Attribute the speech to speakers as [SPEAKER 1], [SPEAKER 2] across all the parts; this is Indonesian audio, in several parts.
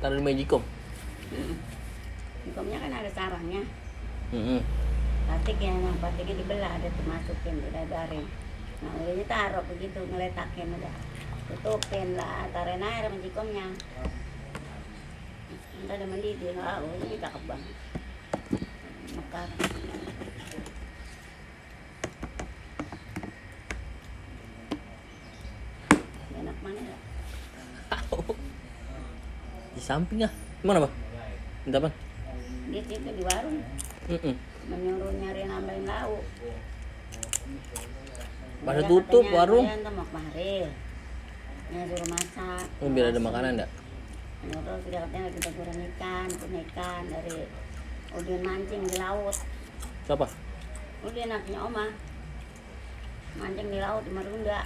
[SPEAKER 1] taruh di magicom
[SPEAKER 2] Mm. Bingkomnya kan ada sarangnya.
[SPEAKER 1] Mm-mm.
[SPEAKER 2] Batik yang nah, batiknya dibelah ada tuh masukin udah garing. Nah, ini taruh begitu ngeletakin udah. Tutupin lah, taruhin air sama jikomnya. Entar ada mendidih, ah, oh, ini cakep banget. Mekar. Enak mana ya?
[SPEAKER 1] di samping ah mana bang minta bang
[SPEAKER 2] Dia situ di warung
[SPEAKER 1] Mm-mm.
[SPEAKER 2] menyuruh nyari nambahin lauk.
[SPEAKER 1] Pada
[SPEAKER 2] Dia
[SPEAKER 1] tutup
[SPEAKER 2] katanya,
[SPEAKER 1] warung.
[SPEAKER 2] "Kalian tuh mau kemari." Dia suruh masak.
[SPEAKER 1] Oh, biar ada makanan enggak
[SPEAKER 2] Menurut sudah katanya lagi teguran ikan, punya ikan dari udin mancing di laut.
[SPEAKER 1] siapa
[SPEAKER 2] Udin anaknya Oma. Mancing di laut di Marunda.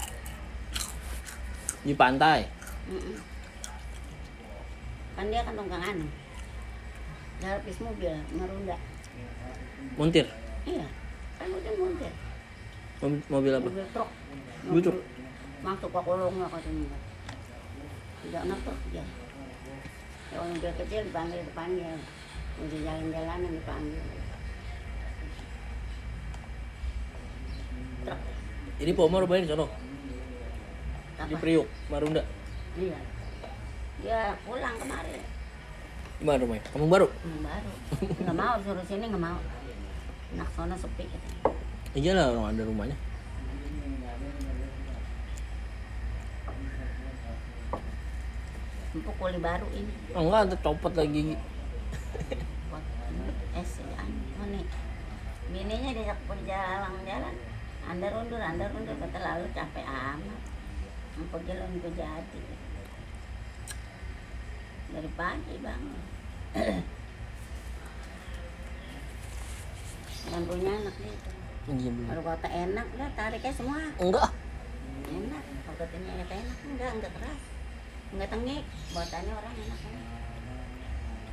[SPEAKER 1] di pantai
[SPEAKER 2] Mm-mm. Kan dia kan tongkangan. Garpis mobil Marunda.
[SPEAKER 1] montir
[SPEAKER 2] Iya. Kan Udin montir.
[SPEAKER 1] Mom- mobil apa
[SPEAKER 2] mobil truk
[SPEAKER 1] Mobil truk?
[SPEAKER 2] masuk ke kolong lah katanya tidak enak truk dia ya orang dia kecil dipanggil dipanggil udah jalan-jalan yang dipanggil truk
[SPEAKER 1] jadi pomo rupanya di sono di
[SPEAKER 2] apa
[SPEAKER 1] Priuk Marunda
[SPEAKER 2] iya dia pulang kemarin
[SPEAKER 1] di mana rumahnya kampung baru
[SPEAKER 2] yang baru nggak mau suruh sini nggak mau enak sana sepi katanya
[SPEAKER 1] iyalah Iya orang ada rumahnya
[SPEAKER 2] empuk kuli baru ini
[SPEAKER 1] oh, enggak ada copot lagi
[SPEAKER 2] buat ini, es an mana bininya diajak berjalan-jalan anda rundur anda rundur kata lalu capek amat mau jalan ke jati dari pagi bang yang punya anak dia itu
[SPEAKER 1] iya belum
[SPEAKER 2] kalau kata enak udah tariknya semua
[SPEAKER 1] enggak ah.
[SPEAKER 2] enak kalau katanya enak enak enggak enggak keras enggak tengik buatannya orang enak enak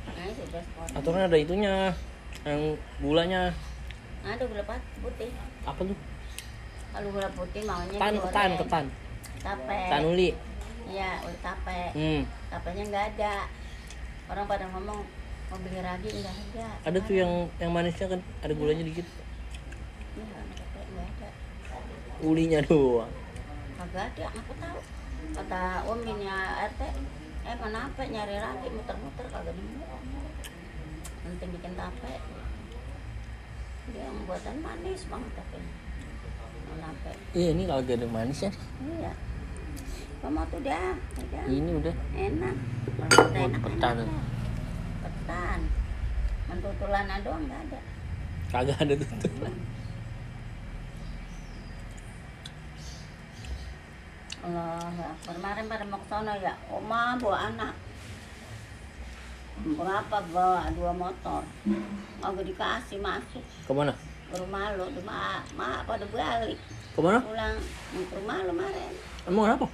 [SPEAKER 2] makanya sudah sport
[SPEAKER 1] aturan ada itunya yang gulanya
[SPEAKER 2] ada gula pat- putih
[SPEAKER 1] apa tuh
[SPEAKER 2] kalau gula putih maunya
[SPEAKER 1] ketan
[SPEAKER 2] digoreng.
[SPEAKER 1] ketan ketan
[SPEAKER 2] tape
[SPEAKER 1] ketan uli
[SPEAKER 2] iya udah tape
[SPEAKER 1] hmm
[SPEAKER 2] tapenya nggak ada orang pada ngomong mau beli ragi nggak ada
[SPEAKER 1] ada tuh yang yang manisnya kan ada gulanya dikit
[SPEAKER 2] iya tape nggak ada
[SPEAKER 1] ulinya doang
[SPEAKER 2] kagak ada aku tahu kata ominya rt eh kenapa nyari ragi muter-muter kagak nemu nanti bikin tape dia yang buatan manis banget tapenya mau tape
[SPEAKER 1] iya ini kagak ada manisnya
[SPEAKER 2] iya kamu tuh dah udah
[SPEAKER 1] ini udah
[SPEAKER 2] enak kalau kita
[SPEAKER 1] Petan.
[SPEAKER 2] enak enak lah. petan mentutulan doang nggak ada
[SPEAKER 1] kagak ada tuh
[SPEAKER 2] Allah kemarin pada mau ke sono ya oma bawa anak berapa bawa dua motor nggak dikasih masuk
[SPEAKER 1] kemana
[SPEAKER 2] ke rumah lo ma ma pada balik
[SPEAKER 1] kemana
[SPEAKER 2] pulang ke rumah lo kemarin
[SPEAKER 1] emang kenapa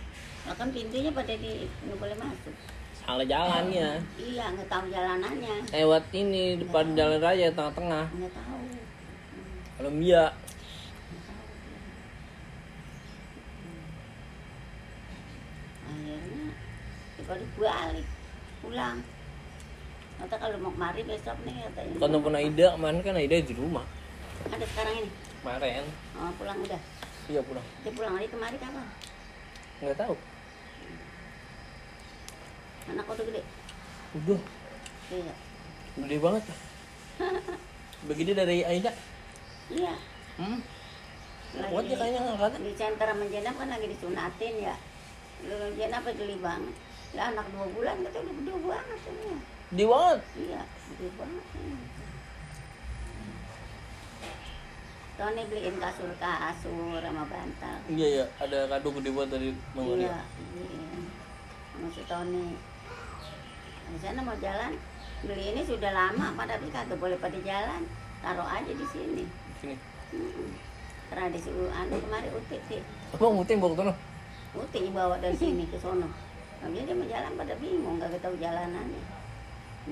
[SPEAKER 2] lah kan pintunya pada di nggak boleh masuk
[SPEAKER 1] salah jalannya
[SPEAKER 2] iya nggak tahu jalanannya
[SPEAKER 1] lewat ini depan jalan raya tengah-tengah
[SPEAKER 2] nggak tahu
[SPEAKER 1] Kolombia
[SPEAKER 2] akhirnya dibalik balik pulang kata kalau mau kemari besok nih katanya
[SPEAKER 1] kalau pernah Ida kemarin kan Ida di rumah
[SPEAKER 2] ada sekarang ini
[SPEAKER 1] kemarin
[SPEAKER 2] oh, pulang udah
[SPEAKER 1] iya pulang
[SPEAKER 2] dia pulang lagi kemari kapan
[SPEAKER 1] nggak tahu
[SPEAKER 2] anak kau udah gede
[SPEAKER 1] udah
[SPEAKER 2] iya
[SPEAKER 1] gede banget begini dari Aida
[SPEAKER 2] iya
[SPEAKER 1] hmm kuat dia kayaknya ngangkatnya
[SPEAKER 2] di center sama Jenab kan lagi disunatin ya lu Jenab geli banget lah anak dua bulan kata udah gede banget semua
[SPEAKER 1] gede banget
[SPEAKER 2] iya gede banget ini. Tony beliin kasur-kasur sama bantal
[SPEAKER 1] iya iya ada kado gede banget dari Mang
[SPEAKER 2] Iya,
[SPEAKER 1] Arya.
[SPEAKER 2] iya. Sama si Tony. Di sana mau jalan, beli ini sudah lama, Pak, tapi kagak boleh pada jalan. Taruh aja di sini.
[SPEAKER 1] sini
[SPEAKER 2] Mm-mm. Karena disuruh anu kemari uti, Ti.
[SPEAKER 1] abang mutin bawa ke sana
[SPEAKER 2] uti bawa dari sini ke sono. Tapi dia mau jalan pada bingung, kagak tahu jalanannya.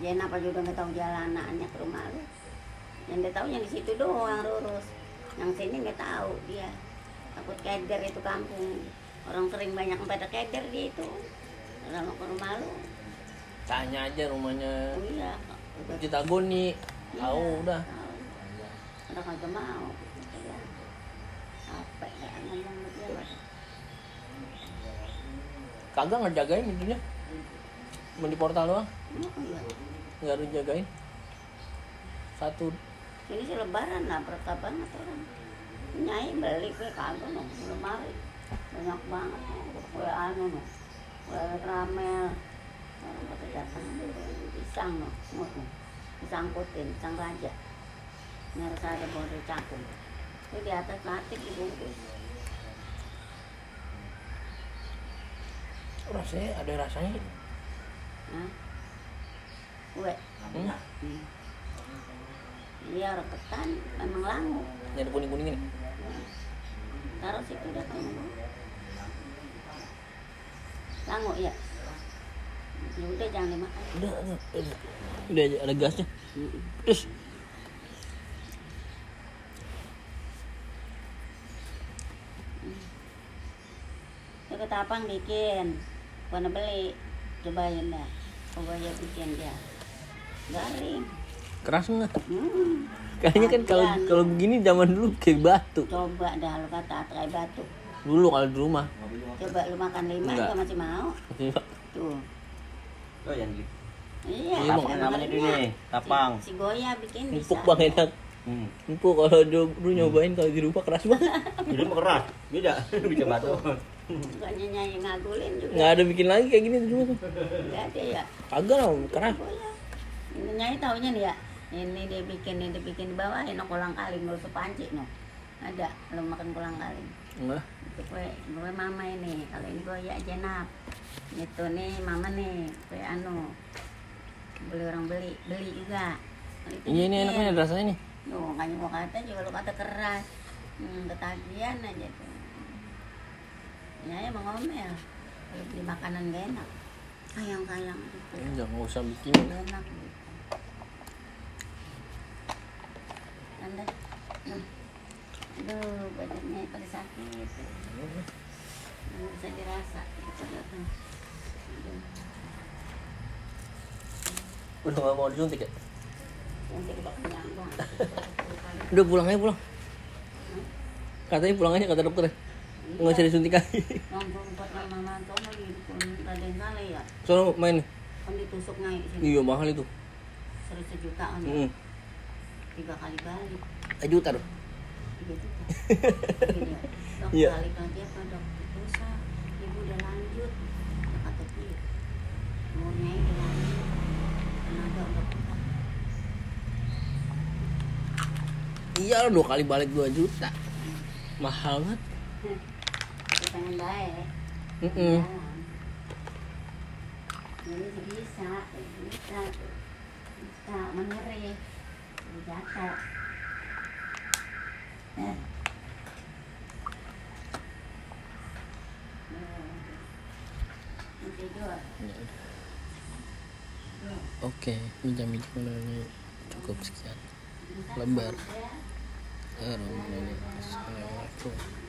[SPEAKER 2] Jen apa juga nggak tahu jalanannya ke rumah lu. Yang dia tahu yang di situ doang lurus. Yang sini nggak tahu dia. Takut keder itu kampung. Orang sering banyak pada keder dia itu. Kalau mau ke rumah lu,
[SPEAKER 1] Tanya aja rumahnya.
[SPEAKER 2] Iya. Udah
[SPEAKER 1] Di Tagoni. Tahu udah.
[SPEAKER 2] tahu. Udah kagak mau. gitu ya. Apa ya ngomong sama dia Pak.
[SPEAKER 1] Kagak ngejagain pintunya. Cuma di portal doang.
[SPEAKER 2] Oh, iya.
[SPEAKER 1] Nggak ada yang jagain. Satu.
[SPEAKER 2] Ini sih lebaran lah berkah banget orang. Nyai beli kue kagak no, lemari. Banyak banget no. Kue anu no. Kue ramel. Orang pada datang beli pisang no. semut, no. Pisang putih, pisang raja. Ngerasa ada bodoh cakung. Itu di atas plastik dibungkus.
[SPEAKER 1] Rasanya ada rasanya.
[SPEAKER 2] Hah? nah. Kue.
[SPEAKER 1] Hmm.
[SPEAKER 2] Hmm. Dia orang ketan, memang langu.
[SPEAKER 1] Ini ada kuning-kuning ini.
[SPEAKER 2] Taruh situ dah kamu. Langu ya. Ya udah jangan dimakan.
[SPEAKER 1] Udah, udah, udah. Udah aja, ada gasnya.
[SPEAKER 2] Mm-mm.
[SPEAKER 1] Terus.
[SPEAKER 2] Itu ketapang bikin. Warna beli. Cobain dah. Cobain bikin dia. Garing.
[SPEAKER 1] Keras nggak?
[SPEAKER 2] Hmm.
[SPEAKER 1] Kayaknya kan kalau
[SPEAKER 2] Latihan.
[SPEAKER 1] kalau begini zaman dulu kayak batu.
[SPEAKER 2] Coba dah lu kata atrai batu.
[SPEAKER 1] Dulu kalau di rumah.
[SPEAKER 2] Coba lu makan lima
[SPEAKER 1] Enggak.
[SPEAKER 2] juga masih mau. Tuh.
[SPEAKER 3] Oh yang di
[SPEAKER 2] Iya,
[SPEAKER 1] Iya, Bang.
[SPEAKER 2] pakai
[SPEAKER 3] namanya
[SPEAKER 2] belernya.
[SPEAKER 3] dulu nih, tapang.
[SPEAKER 2] Si, si Goya bikin bisa.
[SPEAKER 1] Empuk bang enak.
[SPEAKER 3] Hmm.
[SPEAKER 1] Empuk kalau dulu dulu nyobain kalau di rumah keras banget.
[SPEAKER 3] Jadi mah keras, beda. Bisa batu.
[SPEAKER 2] Bukannya nyanyi ngagulin juga.
[SPEAKER 1] Nggak ada bikin lagi kayak gini di rumah tuh.
[SPEAKER 2] Enggak ada ya.
[SPEAKER 1] Kagak lah, keras.
[SPEAKER 2] Goya. Ini nyanyi taunya nih ya. Ini dia bikin, ini dia bikin di bawah, ini kolang kaling, nggak usah panci no. Ada, lo makan kolang kaling.
[SPEAKER 1] Nah,
[SPEAKER 2] Itu kue, kue mama ini, kalau ini Goya jenap. Itu nih mama nih, kue anu. Beli orang beli, beli juga. Itu
[SPEAKER 1] iya ini
[SPEAKER 2] bikin.
[SPEAKER 1] enaknya ada rasanya nih.
[SPEAKER 2] Tuh, makanya gua kata juga lu kata keras. Hmm, ketagihan aja tuh. Ya emang ngomel. Kalau beli makanan gak enak. Kayang-kayang gitu.
[SPEAKER 1] Ya, Udah nggak usah bikin.
[SPEAKER 2] Gak enak gitu. Anda. Hmm. Aduh, badannya pada sakit. Nggak bisa dirasa. Gitu. Aduh,
[SPEAKER 1] Udah nggak mau disuntik ya?
[SPEAKER 2] Nanti udah kenyang banget.
[SPEAKER 1] Udah pulang aja pulang. Katanya pulang aja kata dokter. Nggak usah disuntik lagi.
[SPEAKER 2] Nongkrong buat mama-mama tuh lagi di Pun- Raden Saleh ya.
[SPEAKER 1] Soalnya main.
[SPEAKER 2] Kan ditusuk naik sini.
[SPEAKER 1] Iya mahal itu.
[SPEAKER 2] Serius sejuta kan ya.
[SPEAKER 1] Heeh.
[SPEAKER 2] tiga kali balik
[SPEAKER 1] Aja juta tuh.
[SPEAKER 2] tiga juta Gini ya, dok
[SPEAKER 1] Iya.
[SPEAKER 2] balik lagi apa dok dosa ibu udah lanjut ya kata dia umurnya udah lanjut tenaga udah kurang
[SPEAKER 1] Iya lah, dua kali balik 2 juta. Mahal banget.
[SPEAKER 2] dia pengen baik
[SPEAKER 1] Heeh.
[SPEAKER 2] jalan jadi nggak bisa nggak bisa bisa mengeri Jadi jatuh Eh. Eh. Mau tidur
[SPEAKER 1] Oke, minjam-minjam ini cukup sekian. Lebar. Ya, Assalamualaikum.